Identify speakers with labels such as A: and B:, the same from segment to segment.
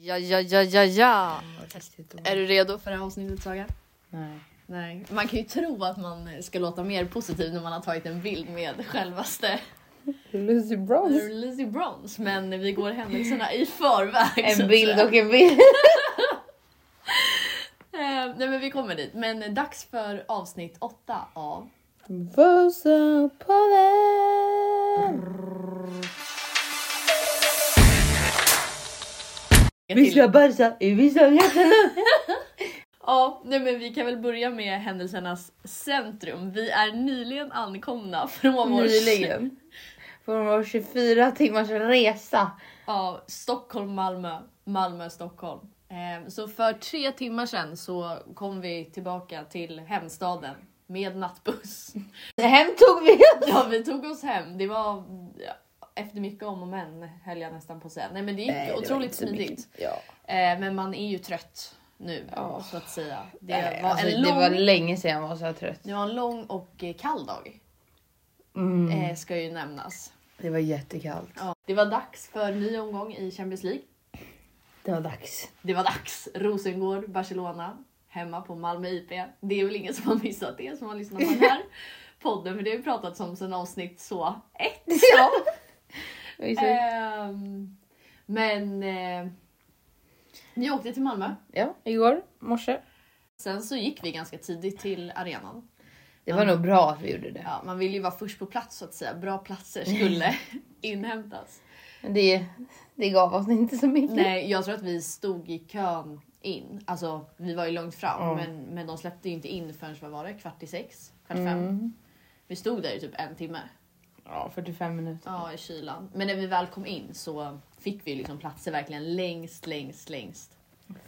A: Ja, ja, ja, ja, ja.
B: Är du redo för det här avsnittet Saga?
C: Nej.
B: Nej. Man kan ju tro att man ska låta mer positiv när man har tagit en bild med självaste
C: Lucy Bronze.
B: Lucy Bronze. Men vi går händelserna i förväg. så
C: En
B: att
C: bild
B: säga.
C: och en bild.
B: Eh, nej men vi kommer dit. Men dags för avsnitt åtta av...
C: Vosapodden! Vi ska bajsa i Visaljätten!
B: Ja, nej men vi kan väl börja med händelsernas centrum. Vi är nyligen ankomna från vår...
C: Nyligen. Från vår 24 timmars resa.
B: Ja, Stockholm, Malmö, Malmö, Stockholm. Eh, Så för tre timmar sedan så kom vi tillbaka till hemstaden med nattbuss.
C: Hem tog vi
B: Ja, vi tog oss hem. Det var ja, efter mycket om och men höll jag nästan på att säga. Nej, men det gick
C: Nej, det var
B: otroligt
C: inte så mycket.
B: smidigt.
C: Ja.
B: Eh, Men man är ju trött nu
C: Ja.
B: så att säga. Det,
C: Det,
B: var
C: alltså,
B: en lång,
C: det var länge sedan jag var så här trött.
B: det var en lång och eh, kall dag
C: Mm.
B: eh, ska ju nämnas.
C: Det var jättekallt.
B: Ja. Det var dags för ny omgång i Champions League.
C: Det var dags.
B: Det var dags. Rosengård, Barcelona, hemma på Malmö IP. Det är väl ingen som har missat det som har lyssnat på den här podden för det har ju pratats om sedan avsnitt så ett.
C: Ja. Exakt.
B: Ehm, men eh, vi åkte till Malmö.
C: ja, igår morse.
B: Sen så gick vi ganska tidigt till arenan.
C: Det var nog bra att vi gjorde det.
B: Ja, man vill ju vara först på plats så att säga. Bra platser skulle inhämtas.
C: Men Det, det gav oss inte så mycket.
B: Nej, jag tror att vi stod i kön in. Alltså, vi var ju långt fram,
C: Ja.
B: men, men de släppte ju inte in förrän vad var det? Kvart i sex? Kvart fem?
C: Mm.
B: Vi stod där i typ en timme
C: Ja, 45 minuter.
B: ja, i kylan. Men när vi väl kom in så fick vi liksom platser verkligen längst, längst, längst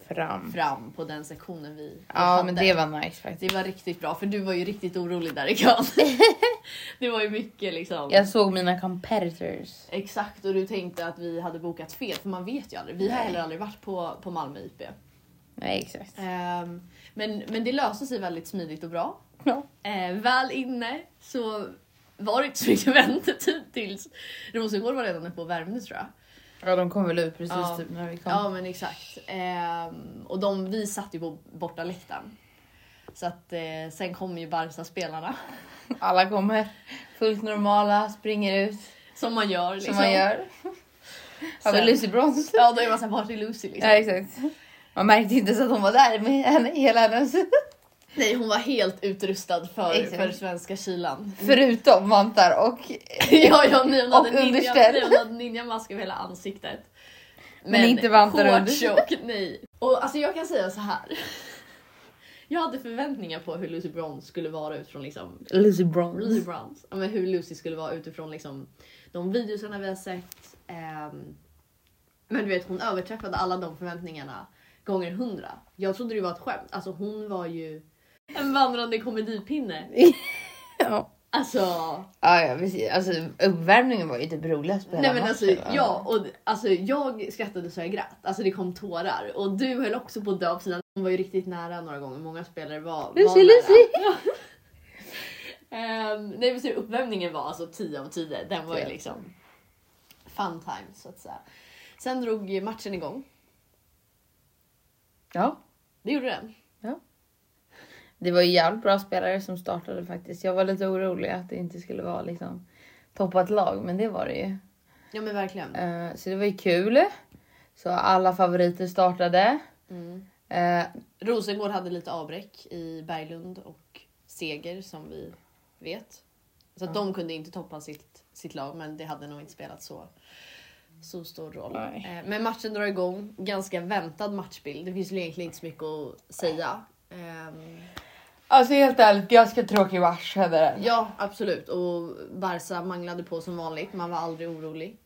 C: Fram.
B: fram på den sektionen vi vi
C: Ja, men det var nice faktiskt.
B: Det var riktigt bra för du var ju riktigt orolig där i kön. det var ju mycket liksom.
C: Jag såg mina competitors.
B: Exakt och du tänkte att vi hade bokat fel för man vet ju aldrig. Vi har heller aldrig varit på, på Malmö IP.
C: Nej, exakt.
B: Ehm, men, men det löste sig väldigt smidigt och bra.
C: Ja.
B: Eh, väl inne så var det inte så mycket väntetid tills Rosengård var redan uppe och värmde tror jag.
C: Ja, de kom väl ut precis
B: Ja.
C: typ när vi kom.
B: Ja men exakt. Ehm, och de, vi satt ju på borta läktaren. Så att eh, sen kom ju Barca-spelarna.
C: Alla kommer fullt normala, springer ut
B: Som man gör.
C: som
B: Liksom.
C: man gör. Har vi
B: Sen-
C: Lucy Bronze?
B: Ja då är man såhär, vart är Lucy liksom?
C: Ja, exakt. Man märkte inte så att hon var där med henne, hela hennes...
B: Nej hon var helt utrustad för,
C: Exakt.
B: för svenska kylan.
C: Förutom vantar och...
B: ja, ja, nej, hon
C: Och
B: hade ninja,
C: underställ.
B: nej, hon hade ninjamask över hela ansiktet.
C: Men inte vantar och
B: shorts och nej. Och alltså jag kan säga så här. Jag hade förväntningar på hur Lucy Bronze skulle vara utifrån liksom
C: Lucy Bronze.
B: Lucy Bronze, ja, men hur Lucy skulle vara utifrån liksom de videorna vi har sett. ehm, men du vet hon överträffade alla de förväntningarna gånger hundra. Jag trodde det var ett skämt. Alltså hon var ju en vandrande komedipinne.
C: Ja.
B: Alltså
C: Ja, ja, precis. Alltså, uppvärmningen var ju typ roligast på hela
B: Nej men alltså,
C: matchen, va?
B: ja, och, alltså jag skrattade så jag grät. Alltså det kom tårar. Och du höll också på att dö på sidan. Hon var ju riktigt nära några gånger. Många spelare var, var
C: Lucy,
B: nära.
C: Lucy!
B: Ehm, nej men så uppvärmningen var alltså 10 av 10. Den var ju
C: Ja.
B: liksom fun time så att säga. Sen drog ju matchen igång.
C: Ja.
B: Det gjorde den.
C: Det var ju jävligt bra spelare som startade faktiskt. Jag var lite orolig att det inte skulle vara liksom toppat lag, men det var det ju.
B: Ja men verkligen.
C: Eh, så det var ju kul. Så alla favoriter startade.
B: Mm.
C: Eh,
B: Rosengård hade lite avbräck i Berglund och Seger som vi vet. Så att de kunde inte toppa sitt, sitt lag men det hade nog inte spelat så, så stor roll.
C: Nej.
B: Eh, Men matchen drar igång. Ganska väntad matchbild. Det finns ju egentligen inte så mycket att säga. Ehm,
C: alltså helt ärligt, ganska tråkig match hade den.
B: Ja absolut och Barca manglade på som vanligt. Man var aldrig orolig.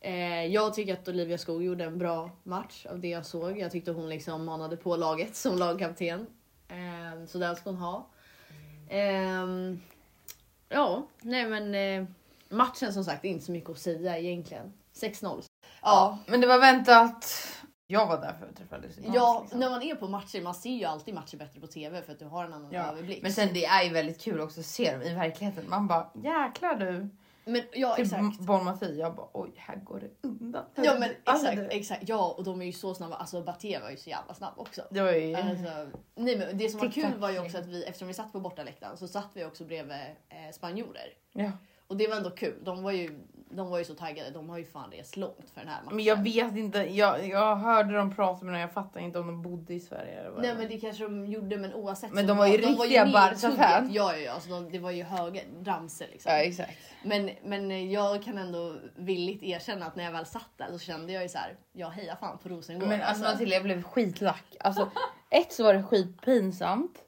B: Eh, Jag tycker att Olivia Skog gjorde en bra match av det jag såg. Jag tyckte hon liksom manade på laget som lagkapten. Eh, Så den ska hon ha. Ehm, Ja, nej men eh, matchen som sagt, inte så mycket att säga egentligen. 6-0. Ja,
C: Men det var väntat. Jag var där för att träffa Lucy. Bronze,
B: ja,
C: liksom.
B: när man är på matcher, man ser ju alltid matcher bättre på TV för att du har en annan
C: Ja,
B: överblick.
C: Men sen det är ju väldigt kul också att se dem i verkligheten. Man bara jäklar du.
B: Men ja,
D: Typ
B: exakt.
D: Bon Mati, jag bara oj, här går det undan.
B: Ja men
D: Alltså,
B: exakt,
D: det-
B: exakt. Ja och de är ju så snabba. Alltså Baté var ju så jävla snabb också.
D: Det var ju...
B: Alltså, nej, men det som var
D: TikTok.
B: kul var ju också att vi, eftersom vi satt på bortaläktaren så satt vi också bredvid eh, spanjorer.
D: Ja.
B: Och det var ändå kul. De var ju, de var ju så taggade. De har ju fan rest långt för den här matchen.
D: Men jag vet inte, jag, jag hörde dem prata men jag fattar inte om de bodde i Sverige eller vad det
B: Nej
D: var.
B: men det kanske de gjorde men oavsett.
D: Men
B: så
D: de var ju riktiga
B: med i tugget.
D: Barca-fan.
B: Ja ja ja, alltså de, det var ju höga ramsor liksom.
D: Ja exakt.
B: men, men jag kan ändå villigt erkänna att när jag väl satt där så kände jag ju så här, jag hejar fan på Rosengård.
D: Men alltså
B: alltså,
D: Matilda
C: Jag blev skitlack. Alltså, ett så var det skitpinsamt.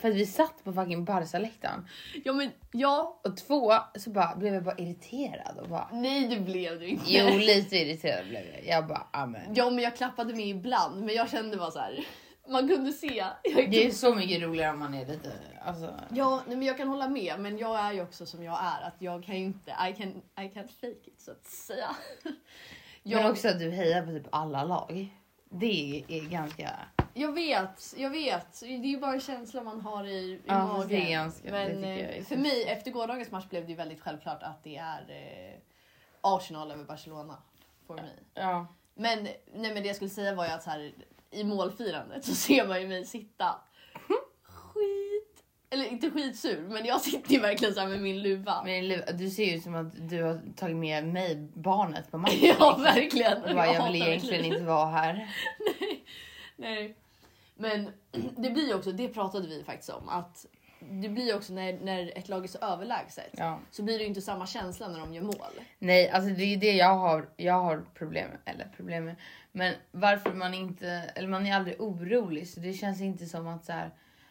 C: För att vi satt på fucking Barca-läktaren.
B: ja men ja.
C: Och två så bara, blev jag bara irriterad. Och bara,
B: Nej det blev du inte.
C: jo lite irriterad blev jag. Jag bara amen.
B: Ja men jag klappade med ibland men jag kände bara så här. Man kunde se. Jag,
C: Det är så mycket roligare om man är lite... Alltså,
B: ja nej, men jag kan hålla med men jag är ju också som jag är att jag kan ju inte, I can, I can fake it så att säga.
C: Men
B: Jag,
C: också att du hejar på typ alla lag. Det är ganska...
B: jag vet, jag vet. Det är ju bara en känsla man har i, i
C: Ja, fast
B: magen.
C: det är ganska- det
B: men
C: tycker jag är
B: eh,
C: så-
B: för mig efter gårdagens match blev det ju väldigt självklart att det är eh, Arsenal över Barcelona. För mig.
D: Ja.
B: Men, nej, men det jag skulle säga var ju att så här, i målfirandet så ser man ju mig sitta skit... Eller inte skitsur, men jag sitter ju verkligen så här med min luva.
C: Men Lu- du ser ju som att du har tagit med mig, barnet, på matchen.
B: Ja, verkligen.
C: Och bara, jag
B: hatar
C: vill egentligen
B: mitt liv.
C: inte vara här.
B: Nej. Men det blir ju också, det pratade vi faktiskt om, att det blir ju också när, när ett lag är så överlägset
D: Ja.
B: så blir det ju inte samma känsla när de gör mål.
C: Nej, alltså det är ju det jag har, jag har problem med. Eller problem med. Men varför man inte... Eller man är aldrig orolig. Så det känns inte som att så här...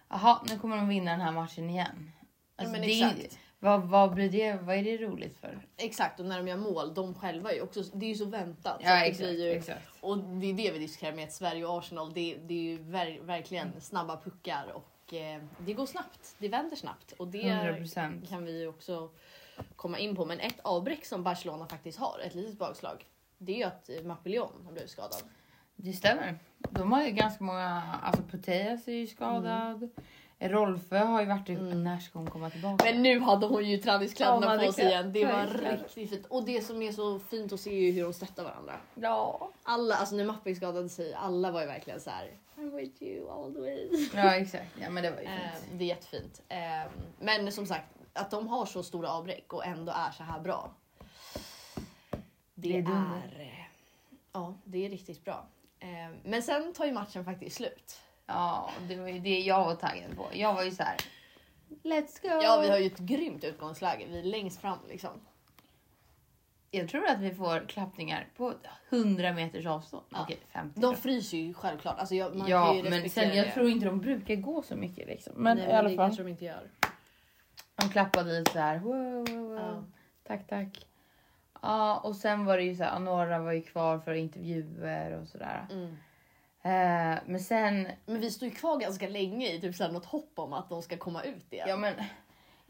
C: Jaha, nu kommer de vinna den här matchen igen. Alltså,
B: men
C: det är-
B: exakt.
C: vad, vad, blir det, vad är det roligt för?
B: Exakt, och när de gör mål, de själva är ju också, det är ju så väntat. så
C: Ja,
B: att Alltså, det
C: exakt,
B: blir ju,
C: exakt.
B: Och det är det vi diskuterar med att Sverige och Arsenal. Det, det är ju ver-
D: Mm.
B: verkligen snabba puckar och eh, det går snabbt. Det vänder snabbt och det
C: 100%.
B: kan vi ju också komma in på. Men ett avbräck som Barcelona faktiskt har, ett litet bakslag, det är ju att eh, Mappillon har blivit skadad.
C: Det stämmer. De har ju ganska många... Alltså Puteas är ju skadad. Rolfö har ju varit... När ska hon komma tillbaka?
B: Mm. Men nu hade hon ju
D: Ja, hon
B: träningskläderna
D: hade
B: på sig
D: kläder.
B: igen. Det var
D: Verkligen.
B: riktigt fint. Och det som är så fint att se är ju hur de stöttar varandra.
D: Ja.
B: Alla, alltså när Mapping skadade sig, alla var ju verkligen så här. I'm with you all the way.
C: Ja, exakt. Ja, men det var ju
B: Eh,
C: fint.
B: det är jättefint. Eh, men som sagt, att de har så stora avbräck och ändå är så här bra. Det,
C: Det är
B: är...
C: dunder.
B: eh, ja, det är riktigt bra. Eh, men sen tar ju matchen faktiskt slut.
C: Ja, det var ju det jag var taggad på. Jag var ju så här... Let's go!
B: Ja, vi har ju ett grymt utgångsläge. Vi är längst fram liksom.
C: Jag tror att vi får klappningar på 100 meters avstånd.
B: Ja.
C: Okej, 50.
B: De
C: då.
B: fryser ju självklart. Alltså, jag, man kan
C: ja,
B: ju
C: men
B: respektera
C: sen jag
B: det.
C: tror inte de brukar gå så mycket. Liksom.
B: Nej,
D: Men
B: men
D: i alla
B: det
D: fall.
B: kanske de inte gör.
C: De klappade lite så här. Wow, wow, wow.
B: Ja.
C: Tack, tack. Ja, och sen var det ju så här, några var ju kvar för intervjuer och sådär.
B: Mm.
C: Eh, men sen,
B: Men vi står ju kvar ganska länge i typ så här, något hopp om att de ska komma ut igen.
C: ja men.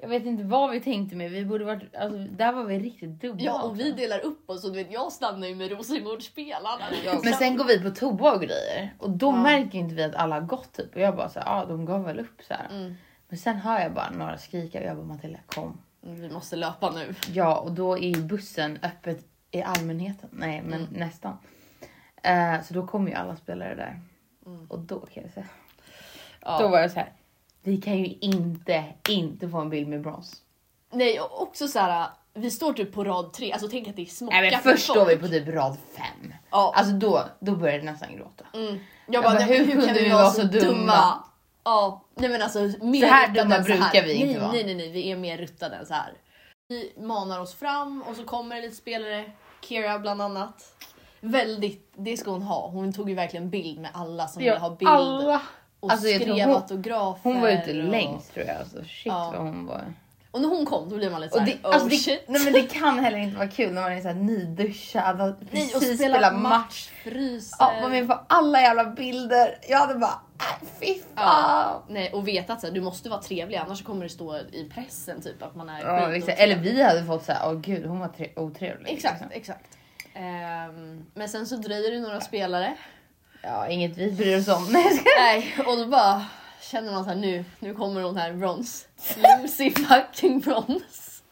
C: Jag vet inte vad vi tänkte med. Vi borde varit, alltså, där var vi riktigt dubbla.
B: Ja, och
C: också.
B: vi delar upp oss och du vet, jag stannar ju med Rosengårdsspelarna.
C: Men
B: liksom.
C: sen går vi på toa och grejer och då
B: Ja.
C: märker inte vi att alla har gått typ och jag bara så här, ah, de gav väl upp så här.
B: Mm.
C: Men sen hör jag bara några skrika och jag bara Matilda kom.
B: Vi måste löpa nu.
C: Ja och då är ju bussen öppet i allmänheten. Nej men
B: Mm.
C: nästan. Eh, så då kommer ju alla spelare där
B: Mm.
C: och då kan jag säga. Då var jag så här. Vi kan ju inte, inte få en bild med brons.
B: Nej, och också så här. Vi står typ på rad tre, alltså tänk att det är smockat.
C: Nej men
B: för
C: först
B: folk.
C: står vi på typ rad fem.
B: Ja.
C: Alltså då, då började jag nästan gråta.
B: Mm. Jag, bara,
C: bara,
B: nej, men hur, kunde vi vara så dumma? Ja, nej men alltså mer
C: Så här
B: ruttade
C: dumma
B: än så
C: brukar vi inte
B: nej,
C: vara.
B: Nej, nej, nej, vi är mer ruttade än så här. Vi manar oss fram och så kommer det lite spelare, Kira bland annat. Väldigt, det ska hon ha. Hon tog ju verkligen bild med alla som ville ha bild.
C: Alla.
B: Och
C: Alltså, jag tror
B: skrev
C: hon-
B: autografer.
C: Hon var ute
B: och-
C: längst tror jag. Alltså, shit
B: Ja.
C: vad hon var.
B: Och när hon kom då blev man lite
C: Och
B: såhär,
C: det,
B: oh
C: alltså,
B: shit.
C: det, nej, men det kan heller inte vara kul när man är så här nyduschad och
B: Nej, och
C: precis
B: spela
C: spelar
B: match.
C: match.
B: Fryser.
C: Ja, var med på alla jävla bilder. Jag hade bara, äh, fy fan.
B: Nej, och veta att så här, du måste vara trevlig annars så kommer det stå i pressen typ att man är
C: Ja,
B: skitotrevlig.
C: exakt. Eller vi hade fått så här, åh gud hon var tre- otrevlig.
B: Exakt,
C: liksom.
B: exakt. Ehm, men sen så dröjer det några spelare.
C: Ja, inget vi bryr oss om. Nej, jag skojar.
B: Nej, och då bara känner man så här nu, nu kommer hon här brons. Lucy fucking brons.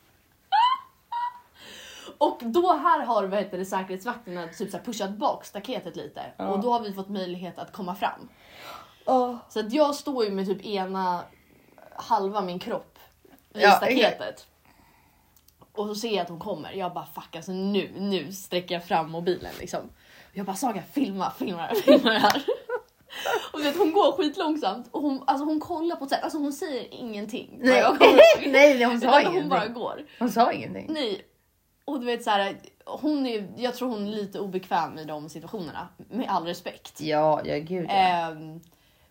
B: Och då här har vad heter det, säkerhetsvakterna typ så här pushat bak staketet lite
C: Ja.
B: och då har vi fått möjlighet att komma fram. Så att jag står ju med typ ena halva min kropp vid
C: Ja,
B: staketet. Och så ser jag att hon kommer. Jag bara fuck alltså nu, nu sträcker jag fram mobilen liksom. Och jag bara Saga filma, filma, filma det här. Och du vet, hon går skitlångsamt och hon, alltså, hon kollar på ett sätt, alltså hon säger ingenting.
C: Nej,
B: Jag kommer-
C: nej, hon sa
B: Utan hon
C: ingenting.
B: bara går.
C: Hon sa ingenting.
B: Nej. Och du vet så här, hon är, jag tror hon är lite obekväm i de situationerna. Med all respekt.
C: Ja, ja gud ja.
B: Ehm,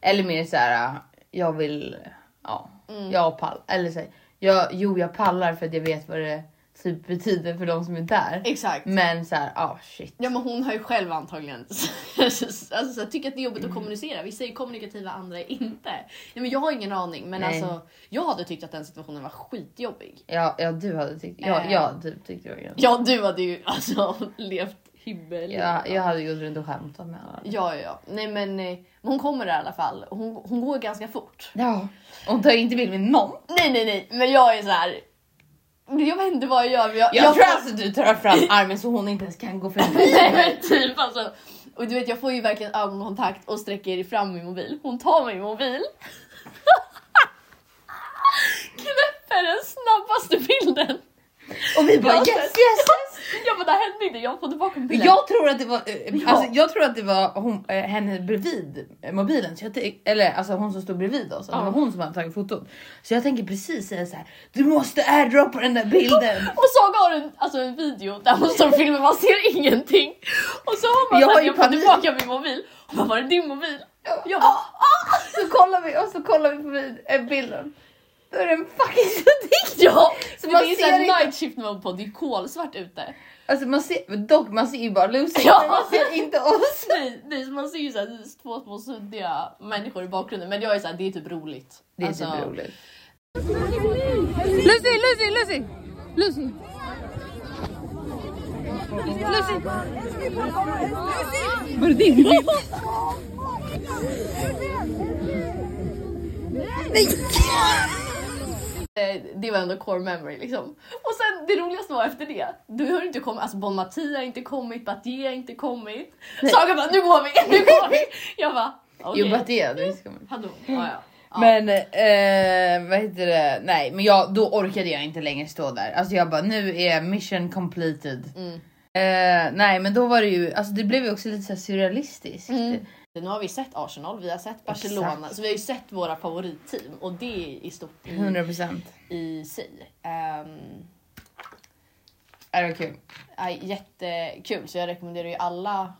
C: Eller mer så här, jag vill, ja,
B: Mm.
C: jag pallar. Eller så här, jag, jo jag pallar för att jag vet vad det typ betyder för de som är där.
B: exakt.
C: Men så här, ah shit.
B: Ja men hon har ju själv antagligen alltså, så här, tycker att det är jobbigt
C: Mm.
B: att kommunicera. Vissa är ju kommunikativa, andra är inte. Nej, men jag har ingen aning men
C: Nej.
B: alltså jag hade tyckt att den situationen var skitjobbig.
C: Ja, ja du hade tyckt, ja,
B: Eh.
C: jag typ tyckte det var grymt.
B: Ja du hade ju alltså levt himmel.
C: Ja, jag hade gått runt och skämtat med alla.
B: ja ja, ja. Nej men eh, men hon kommer där i alla fall. Hon, hon går ganska fort.
C: Ja, hon tar ju inte bild med någon.
B: Nej nej nej men jag är så här. Jag vet inte vad jag gör men jag,
C: Jag,
B: jag
C: tror
B: får-
C: alltså du tar fram armen så hon inte ens kan gå förbi.
B: Nej men typ alltså. Och du vet jag får ju verkligen ögonkontakt och sträcker fram min mobil. Hon tar min mobil. Knäpper den snabbaste bilden.
C: Och vi bara
B: Jag-
C: yes yes yes.
B: Jag bara det här hände inte, jag får tillbaka mobilen.
C: Jag tror att det var, eh, alltså, jag tror att det var hon, eh, henne bredvid eh, mobilen, så jag, tänk- eller alltså hon som stod bredvid oss, att det
B: Ja.
C: var hon som hade tagit fotot. Så jag tänker precis säga så här: du måste airdroppa den där bilden.
B: Och Saga har en, alltså en video där hon står och filmar, man ser ingenting. Och så har man
C: Jag
B: jag,
C: har
B: att
C: ju
B: jag får
C: panik. Ah!
B: tillbaka min mobil. Hon bara var det din mobil? Jag bara
C: Så kollar vi och så kollar vi på vid- eh, bilden. Då är den fucking suddig.
B: ja.
C: Så
B: det
C: man
B: är
C: ser
B: såhär
C: inte-
B: night shift mode på, det är kolsvart ute.
C: Alltså man ser, dock man ser ju bara Lucy,
B: Ja.
C: men man ser inte oss.
B: Nej, nej så man ser ju så här, två små suddiga människor i bakgrunden men jag är såhär, det är typ roligt.
C: Det är
B: Alltså,
C: typ roligt.
E: Lucy, Lucy, Lucy, Lucy. Lucy. Var det din bild?
B: eh, Det var ändå core memory liksom. Och sen det roligaste var efter det, du har inte kommit, alltså Bon Mattia har inte kommit, Batje har inte kommit. Saga bara nu går vi, nu går vi! Jag bara okej.
C: Jo bara det, det ska man.
B: Hallå, ja, ja. Ja.
C: Men eh, vad heter det? Nej, men jag, då orkade jag inte längre stå där. Alltså jag bara nu är mission completed. Eh, nej, men då var det ju alltså det blev ju också lite så här surrealistiskt.
B: Nu har vi sett Arsenal, vi har sett Barcelona,
C: Exakt.
B: så vi har ju sett våra favoritteam och det är i stort i,
C: 100 procent.
B: i sig. Ehm,
C: Det var kul.
B: Ja, jättekul, så jag rekommenderar ju alla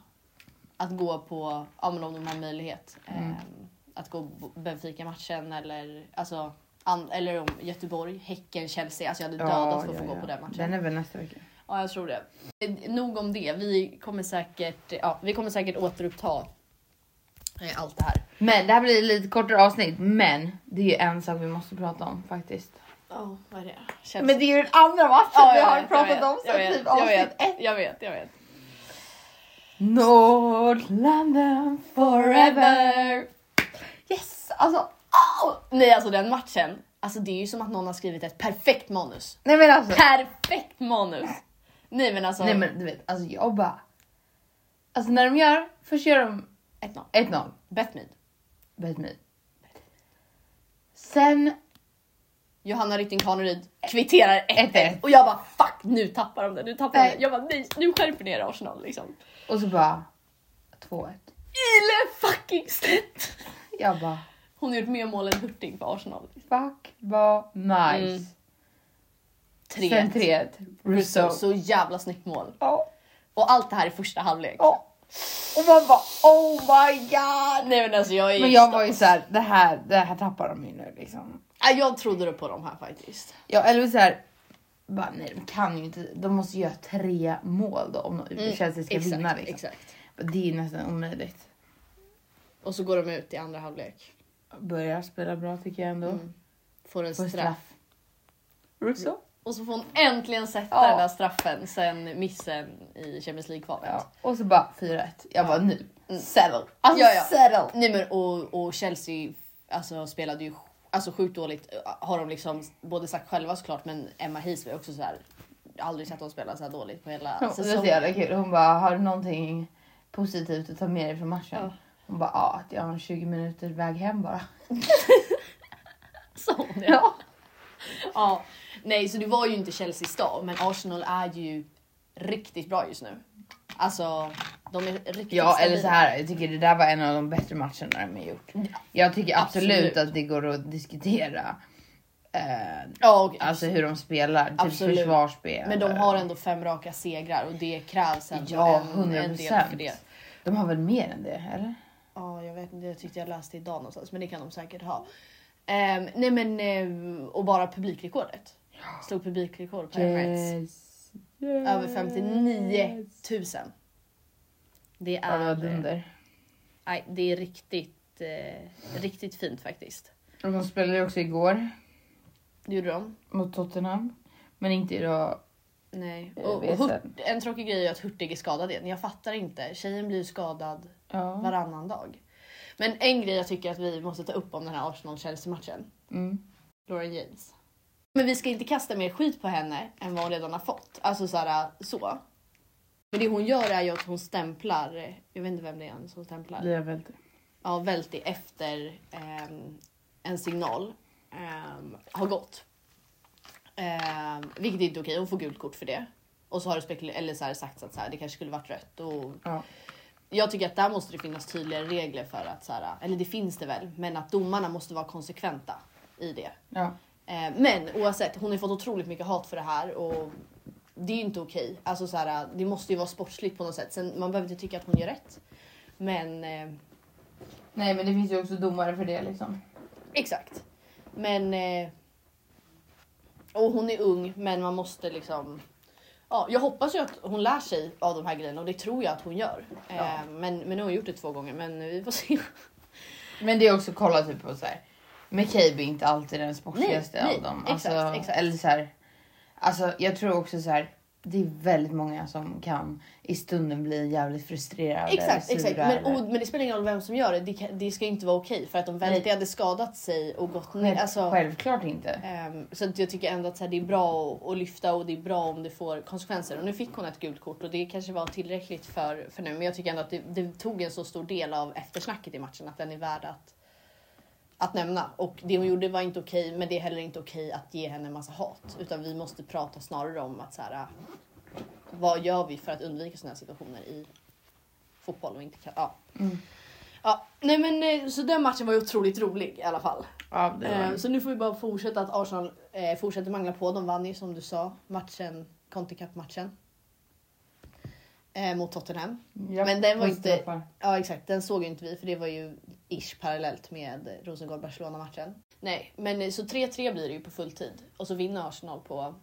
B: att gå på, ja, men om de har möjlighet,
C: Mm.
B: eh, att gå på Benfica-matchen eller, alltså, an, eller om Göteborg, Häcken, Chelsea. Alltså jag hade dödat för att få gå på den matchen.
C: Den är väl nästa vecka.
B: Ja, jag tror det. Eh, Nog om det. Vi kommer säkert, ja, vi kommer säkert återuppta eh, allt det här.
C: Men det här blir lite kortare avsnitt, men det är ju en sak vi måste prata om faktiskt.
B: Ja, vad är det? Chelsea.
C: det är ju den andra matchen
B: Ja, jag vet, jag vet, jag vet,
C: typ
B: jag vet, Jag vet, jag vet.
C: North London forever.
B: Yes! Alltså, åh! Nej, alltså den matchen. Alltså det är ju som att någon har skrivit ett perfekt manus.
C: Nej men alltså.
B: Perfekt manus! Nej men alltså,
C: Nej men du vet, alltså jag bara... Alltså när de gör, först gör de
B: 1-0.
C: 1-0,
B: Bet me.
C: bet me. Sen,
B: Johanna Rytting Kaneryd kvitterar 1-1
C: 1-1.
B: och jag bara fuck nu tappar de det, nu tappar de
C: Nej.
B: det. Jag bara nej, nu skärper ni er Arsenal liksom.
C: och så bara 2-1.
B: Ile fucking Stedt!
C: Jag bara,
B: Hon har gjort mer mål än Hurtig för Arsenal.
C: fuck vad
B: Mm,
C: nice. Sen
B: 3-1.
C: 3-1, Rousseau.
B: Så jävla snyggt mål.
C: Ja.
B: Och allt det här i första halvlek.
C: Ja. Och man bara oh my god.
B: Nej men alltså jag är
C: Men jag var ju såhär, det här, det här tappar de ju nu liksom.
B: Ja, jag trodde det på dem här faktiskt.
C: Ja, eller så här. Bara, nej, de kan ju inte. De måste göra tre mål då om de Chelsea ska
B: Mm, exakt,
C: vinna. Liksom.
B: exakt.
C: Det är ju nästan omöjligt.
B: Och så går de ut i andra halvlek.
C: Börjar spela bra tycker jag ändå.
B: Får en
C: På
B: straff.
C: Mm. straff. Russo?
B: Och så får hon äntligen sätta
C: Ja.
B: den där straffen sen missen i Champions League-kvalet.
C: Ja. Och så bara 4-1. Jag bara nu. Settle. Alltså
B: Ja, ja.
C: settle.
B: Nej men och, och Chelsea alltså, spelade ju sj- alltså, sjukt dåligt. Har de liksom både sagt själva såklart men Emma Hayes var ju också så här aldrig sett hon spela så här dåligt på hela
C: Och Det var så jävla kul. Hon bara, har du någonting positivt att ta med dig från matchen? Hon bara, ja att jag har en 20 minuters väg hem bara.
B: Sa hon det? Ja. ja. Nej, så det var ju inte Chelsea stad, men Arsenal är ju riktigt bra just nu. Alltså, de är riktigt
C: Ja eller
B: stabila.
C: så här, jag tycker det där var en av de bättre matcherna de har gjort. Jag tycker absolut,
B: Absolut.
C: att det går att diskutera eh,
B: Ja, och,
C: alltså hur de spelar, typ
B: Absolut.
C: försvarsspel.
B: men de har ändå fem raka segrar och det krävs ändå
C: Ja,
B: en,
C: 100
B: en del för
C: procent.
B: det.
C: De har väl mer än det eller?
B: Ja, jag vet inte. Jag tyckte jag läste idag någonstans, men det kan de säkert ha. Ehm, nej men, ehm, och bara publikrekordet. Slog publikrekord på Emirates. Över 59 000. Det
C: Ja, det var
B: är,
C: dunder.
B: nej, det är riktigt, eh, riktigt fint faktiskt.
C: Och de spelade ju också igår
B: Det gjorde de.
C: mot Tottenham. Men inte idag.
B: Nej.
C: Jag
B: Och, och
C: vet
B: Hurt, en tråkig grej är att Hurtig är skadad igen. Jag fattar inte. Tjejen blir ju skadad
C: Ja.
B: varannan dag. Men en grej jag tycker att vi måste ta upp om den här Arsenal-Chelsea-matchen.
C: Mm.
B: Lauren James. Men vi ska inte kasta mer skit på henne än vad hon redan har fått. Alltså så här, så. Men det hon gör är ju att hon stämplar, jag vet inte vem det är som stämplar.
C: Lia Velter.
B: Ja, Velti efter ehm, en signal ehm, har gått. Ehm, vilket är inte är okej, hon får gult kort för det. Och så har det spekul- eller så här sagt att så här, det kanske skulle varit rött. Och
C: Ja.
B: jag tycker att där måste det finnas tydligare regler för att, så här, eller det finns det väl, men att domarna måste vara konsekventa i det.
C: Ja.
B: Eh, Men oavsett, hon har fått otroligt mycket hat för det här och det är ju inte okej. Alltså så här, det måste ju vara sportsligt på något sätt. Sen, man behöver inte tycka att hon gör rätt. Men eh,
C: Nej men det finns ju också domare för det liksom.
B: exakt. Men... Eh, och hon är ung, men man måste liksom... Ja, jag hoppas ju att hon lär sig av de här grejerna och det tror jag att hon gör. Eh, men, men nu har hon gjort det två gånger, men vi får se.
C: Men det är också kolla typ på så här. McCabe är inte alltid den
B: Nej,
C: sportigaste
B: nej,
C: av dem.
B: exakt, exakt.
C: Eller så här, alltså jag tror också så här. Det är väldigt många som kan i stunden bli jävligt frustrerade.
B: Exakt,
C: sura
B: exakt. Men,
C: eller-
B: och, men det spelar ingen roll vem som gör det. Det, kan, det ska ju inte vara okej för att om Velti hade skadat sig och gått ner.
C: Själv,
B: Alltså,
C: Självklart inte.
B: Ehm, så att jag tycker ändå att så här, det är bra att, att lyfta och det är bra om det får konsekvenser. Och nu fick hon ett gult kort och det kanske var tillräckligt för, för nu. Men jag tycker ändå att det, det tog en så stor del av eftersnacket i matchen att den är värd att, att nämna. Och det hon gjorde var inte okej, men det är heller inte okej att ge henne en massa hat. Utan vi måste prata snarare om att så här, äh, vad gör vi för att undvika sådana här situationer i fotboll och inte kan, ja. Ja, nej men eh, så den matchen var ju otroligt rolig i alla fall.
C: Ja, det
B: Eh, Så nu får vi bara fortsätta att Arsenal eh, fortsätter mangla på. De vann ju som du sa matchen, Conte Cup-matchen. Eh, mot Tottenham.
C: Ja,
B: men den var
C: puss,
B: inte-
C: droppar.
B: Ja exakt, den såg ju inte vi för det var ju ish parallellt med Rosengård-Barcelona-matchen. Nej, men eh, så 3-3 blir det ju på fulltid. Och så vinner Arsenal på,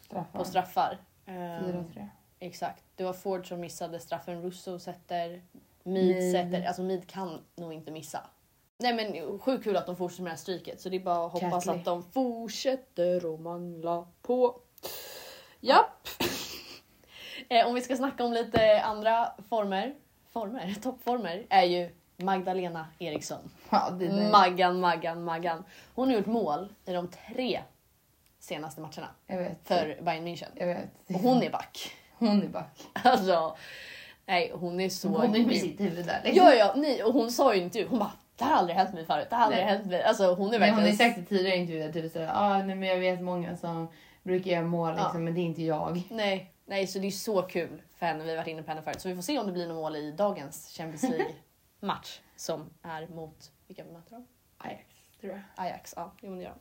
C: Straffar.
B: på straffar. Eh,
C: 4-3.
B: Exakt. Det var Ford som missade straffen. Russo sätter. Mead
C: Mead.
B: sätter. Alltså Mead kan nog inte missa. Nej men sjukt kul att de fortsätter med det här stryket. Så det är bara att hoppas
C: Catley.
B: att de fortsätter att mangla på. Japp! Eh, Om vi ska snacka om lite andra former. Former? Toppformer. Är ju Magdalena Eriksson.
C: Ja, det är det.
B: Maggan, Maggan, Maggan. Hon har gjort mål i de tre senaste matcherna
C: Jag vet.
B: för Bayern München.
C: Jag vet.
B: Och hon är back.
C: Hon är back.
B: Alltså, nej hon är så
C: Hon är med
B: grym.
C: sitt huvud där. liksom.
B: Ja, ja, nej, och hon sa ju inte hon bara det här har aldrig hänt mig förut, det här har aldrig
C: Nej.
B: hänt mig. Alltså hon är
C: Men hon har
B: verkligen...
C: ju sagt i tidigare intervjuer typ såhär, ah, nej men jag vet många som brukar göra mål liksom,
B: Ja.
C: men det är inte jag.
B: nej, nej, så det är så kul för henne, vi har varit inne på henne förut. Så vi får se om det blir något mål i dagens Champions League-match som är mot, vilka möter de?
C: Ajax, tror jag.
B: Ajax, ja, jo men det gör de.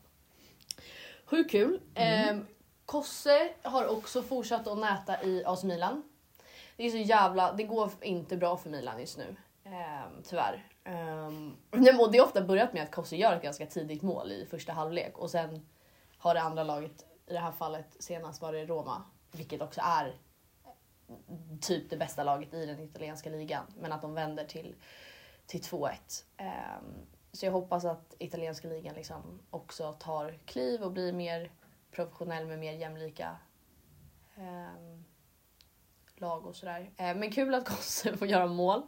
B: Hur kul!
C: Mm.
B: Ehm, Kosse har också fortsatt att näta i AS Milan. Det är så jävla, det går inte bra för Milan just nu. Ehm, tyvärr. Ehm, nej, men och det har ofta börjat med att Kosse gör ett ganska tidigt mål i första halvlek och sen har det andra laget, i det här fallet senast var det Roma, vilket också är typ det bästa laget i den italienska ligan. Men att de vänder till, till 2-1. Ehm, så jag hoppas att italienska ligan liksom också tar kliv och blir mer professionell med mer jämlika ehm, lag och sådär. Ehm, men kul att Kosse får göra mål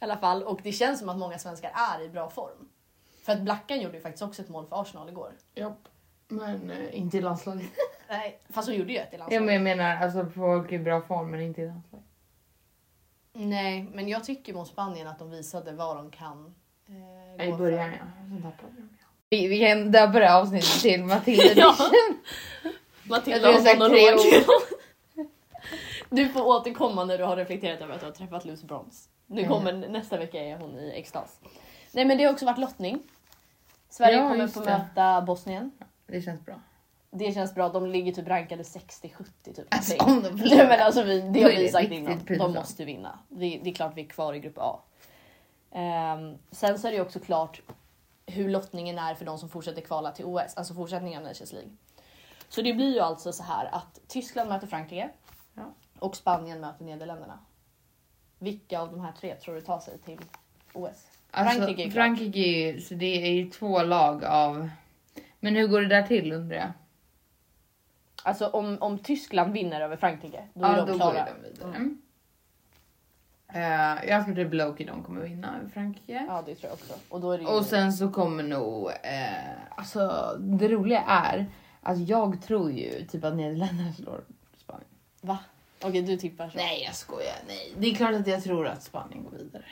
B: i alla fall. Och det känns som att många svenskar är i bra form. För att Blackan gjorde ju faktiskt också ett mål för Arsenal igår.
C: Japp. Men eh, inte i landslaget.
B: Nej, fast hon gjorde ju ett i
C: Ja,
B: landslaget.
C: men jag menar alltså folk i bra form men inte i landslaget.
B: Nej, men jag tycker mot Spanien att de visade vad de kan. eh,
C: I
B: gå
C: början
B: för.
C: ja. Sen tappade de ja. Vi, vi kan döpa det här avsnittet till Matilda edition. Jag
B: Matilda
C: tror jag
B: har
C: sagt tre
B: monolog. Du får återkomma när du har reflekterat över att du har träffat Lucy Brons. Nu
C: Mm.
B: kommer, nästa vecka är hon i extas. Nej men det har också varit lottning. Sverige
C: Ja,
B: kommer
C: just
B: få
C: det.
B: möta Bosnien.
C: Det känns bra.
B: Det känns bra, de ligger typ rankade 60-70 typ.
C: Alltså,
B: Nej.
C: om de
B: Nej, men alltså vi, det
C: Då
B: har
C: är
B: vi
C: det
B: sagt
C: riktigt
B: innan. De
C: pinsamt.
B: måste vinna. Vi, det är klart vi är kvar i grupp A. Ehm, sen så är det ju också klart hur lottningen är för de som fortsätter kvala till OS, alltså fortsättningen av Nations League. Så det blir ju alltså så här att Tyskland möter Frankrike
D: Ja.
B: och Spanien möter Nederländerna. Vilka av de här tre tror du tar sig till OS?
C: Alltså,
B: Frankrike är
C: Frankrike,
B: klart.
C: är ju, så det är ju två lag av... Men hur går det där till undrar jag?
B: Alltså om, om Tyskland vinner över Frankrike, då är
C: Ja,
B: de
C: då
B: klara.
C: går de vidare. Eh, jag tror typ Loki de kommer vinna över Frankrike.
B: Ja, det tror jag också. Och då är det ju...
C: Och sen så kommer nog... Eh, alltså det roliga är att jag tror ju typ att Nederländerna slår Spanien.
B: Va? Okej, du tippar så.
C: Nej jag skojar, nej. Det är klart att jag tror att Spanien går vidare.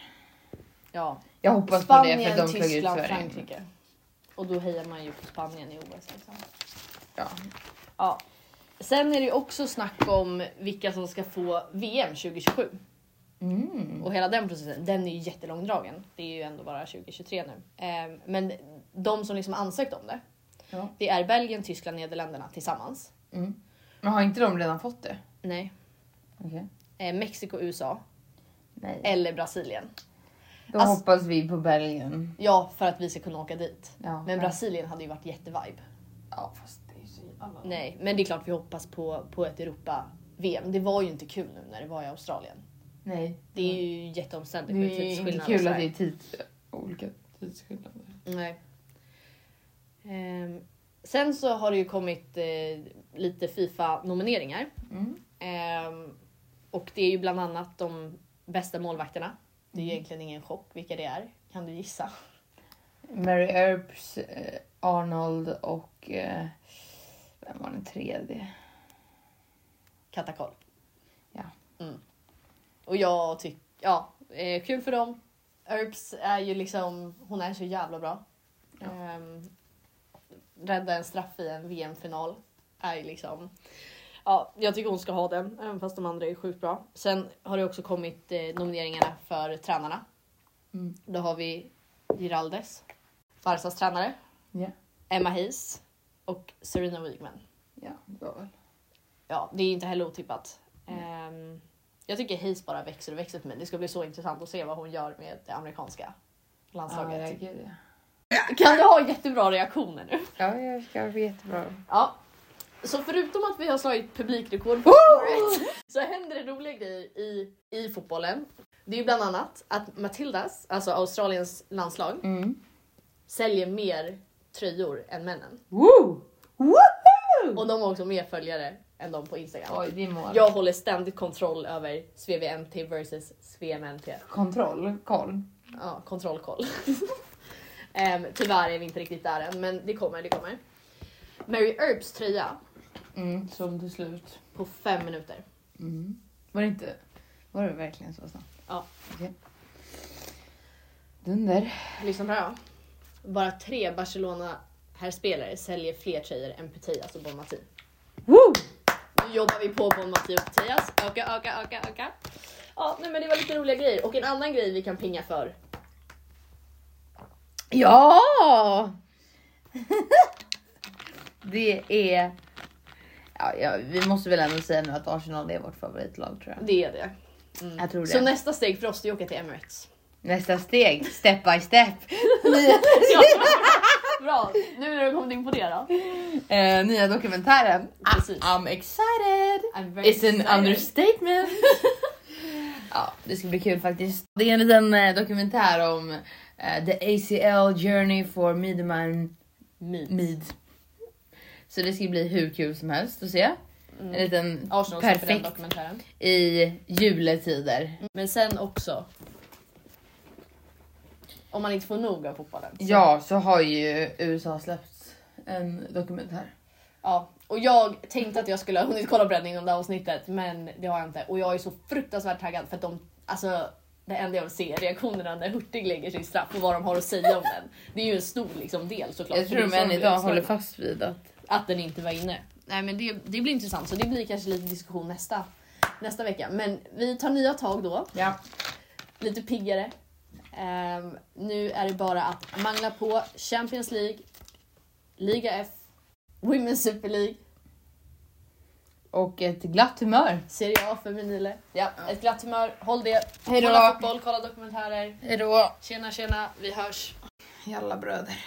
B: Ja.
C: Jag hoppas på det
B: Spanien,
C: för de flög ut
B: Tyskland,
C: Sverige.
B: Frankrike. Och då hejar man ju på Spanien i OS. Liksom.
C: Ja.
B: Ja. Sen är det ju också snack om vilka som ska få VM 2027.
C: Mm.
B: Och hela den processen, den är ju jättelångdragen. Det är ju ändå bara 2023 nu. Ehm, Men de som liksom ansökt om det,
C: Ja.
B: det är Belgien, Tyskland, Nederländerna tillsammans.
C: Mm. Men har inte de redan fått det?
B: Nej.
C: Okej.
B: Eh, Mexiko, USA
C: Nej.
B: eller Brasilien.
C: Då
B: Alltså-
C: hoppas vi på Belgien.
B: Ja, för att vi ska kunna åka dit.
C: Ja,
B: Men
C: ja.
B: Brasilien hade ju varit jättevibe.
C: Ja fast det är ju så jävla...
B: Nej, men det är klart vi hoppas på, på ett Europa-VM. Det var ju inte kul nu när det var i Australien.
C: Nej.
B: Det är ju jätteomständigt
C: Mm. Det
B: med
C: är ju inte
B: tidsskillnaden. i
C: kul att det är
B: Sverige.
C: tids... olika tidsskillnader.
B: Nej. Ehm, sen så har det ju kommit eh, lite Fifa-nomineringar.
C: Mm.
B: Ehm, och det är ju bland annat de bästa målvakterna. Det är
C: Mm.
B: ju egentligen ingen chock vilka det är. Kan du gissa?
C: Mary Earps, eh, Arnold och... Eh, vem var den tredje?
B: Katakol.
C: Ja.
B: Mm. Och jag tycker, ja, eh, kul för dem. Earps är ju liksom, hon är så jävla bra.
C: Ja.
B: Ehm, rädda en straff i en VM-final är ju liksom, ja, jag tycker hon ska ha den, även fast de andra är sjukt bra. Sen har det också kommit eh, nomineringarna för tränarna.
C: Mm.
B: Då har vi Giraldes, Barsas tränare,
C: Ja.
B: Emma Hayes och Serena Wigman.
C: Ja, det var väl.
B: Ja, det är inte heller otippat.
C: Mm.
B: Ehm, jag tycker Hayes bara växer och växer för mig. Det ska bli så intressant att se vad hon gör med det amerikanska landslaget.
C: Ja, gud, ja.
B: Kan du ha jättebra reaktioner nu?
C: ja, jag ska vara jättebra.
B: Ja. Så förutom att vi har slagit publikrekord på året, så händer det roliga grejer i, i fotbollen. Det är ju bland annat att Matildas, alltså Australiens landslag,
C: Mm.
B: säljer mer tröjor än männen.
C: Mm. Woo!
B: Och de har också mer följare än de på Instagram.
C: Oj, det är mål.
B: Jag håller ständigt kontroll över SVVMT versus SVMNT.
C: Kontroll, koll.
B: Ja, kontrollkoll. Ehm, tyvärr är vi inte riktigt där än, men det kommer, det kommer. Mary Earps tröja
C: Mm, som till slut.
B: på fem minuter.
C: Mm. Var det inte... Var det verkligen så snabbt?
B: Ja.
C: Okej. Dunder.
B: Lyssna på det här. då. Bara tre Barcelona här spelare säljer fler tröjor än Putellas och Bon Mati.
C: Woo!
B: Nu jobbar vi på Bon Mati och Putellas. Öka, öka, öka, öka. Ja, nej, men det var lite roliga grejer. Och en annan grej vi kan pinga för.
C: Ja! det är... Ja, ja, vi måste väl ändå säga nu att Arsenal är vårt favoritlag tror jag.
B: Det är det.
C: Jag tror det.
B: Så nästa steg för oss är att åka till Emirates.
C: Nästa steg, step by step. Nya,
B: Bra, nu när du kommit in på det då.
C: eh, nya dokumentären.
B: Precis.
C: I'm excited!
B: I'm very
C: It's
B: excited.
C: an understatement. ja, det ska bli kul faktiskt. Det är en liten eh, dokumentär om eh, the ACL journey for Midman
B: Meet.
C: Mid. Så det ska bli hur kul som helst att se. En liten
B: Arsenal släpper den
C: perfekt
B: dokumentären.
C: i juletider.
B: Men sen också. Om man inte får nog av fotbollen. så-
C: Ja, så har ju USA släppt en dokumentär.
B: Ja, och jag tänkte att jag skulle ha hunnit kolla bränning under avsnittet men det har jag inte. Och jag är så fruktansvärt taggad för att de, alltså det enda jag vill se är reaktionerna när Hurtig lägger sin straff och vad de har att säga om den. Det är ju en stor liksom, del såklart.
C: Jag tror
B: Det är
C: de
B: så
C: än
B: blir
C: idag
B: uppslagna.
C: håller fast vid att
B: Att den inte var inne. Nej men det, det blir intressant så det blir kanske lite diskussion nästa, nästa vecka. Men vi tar nya tag då.
C: ja.
B: lite piggare. Ehm, nu är det bara att mangla på Champions League, Liga F, Women's Super League,
C: och ett glatt humör.
B: Serie A för Minile. Ja, ett glatt humör, håll det.
C: Hej då.
B: Kolla fotboll, kolla dokumentärer.
C: Hejdå!
B: Tjena tjena, vi hörs.
C: Jalla bröder.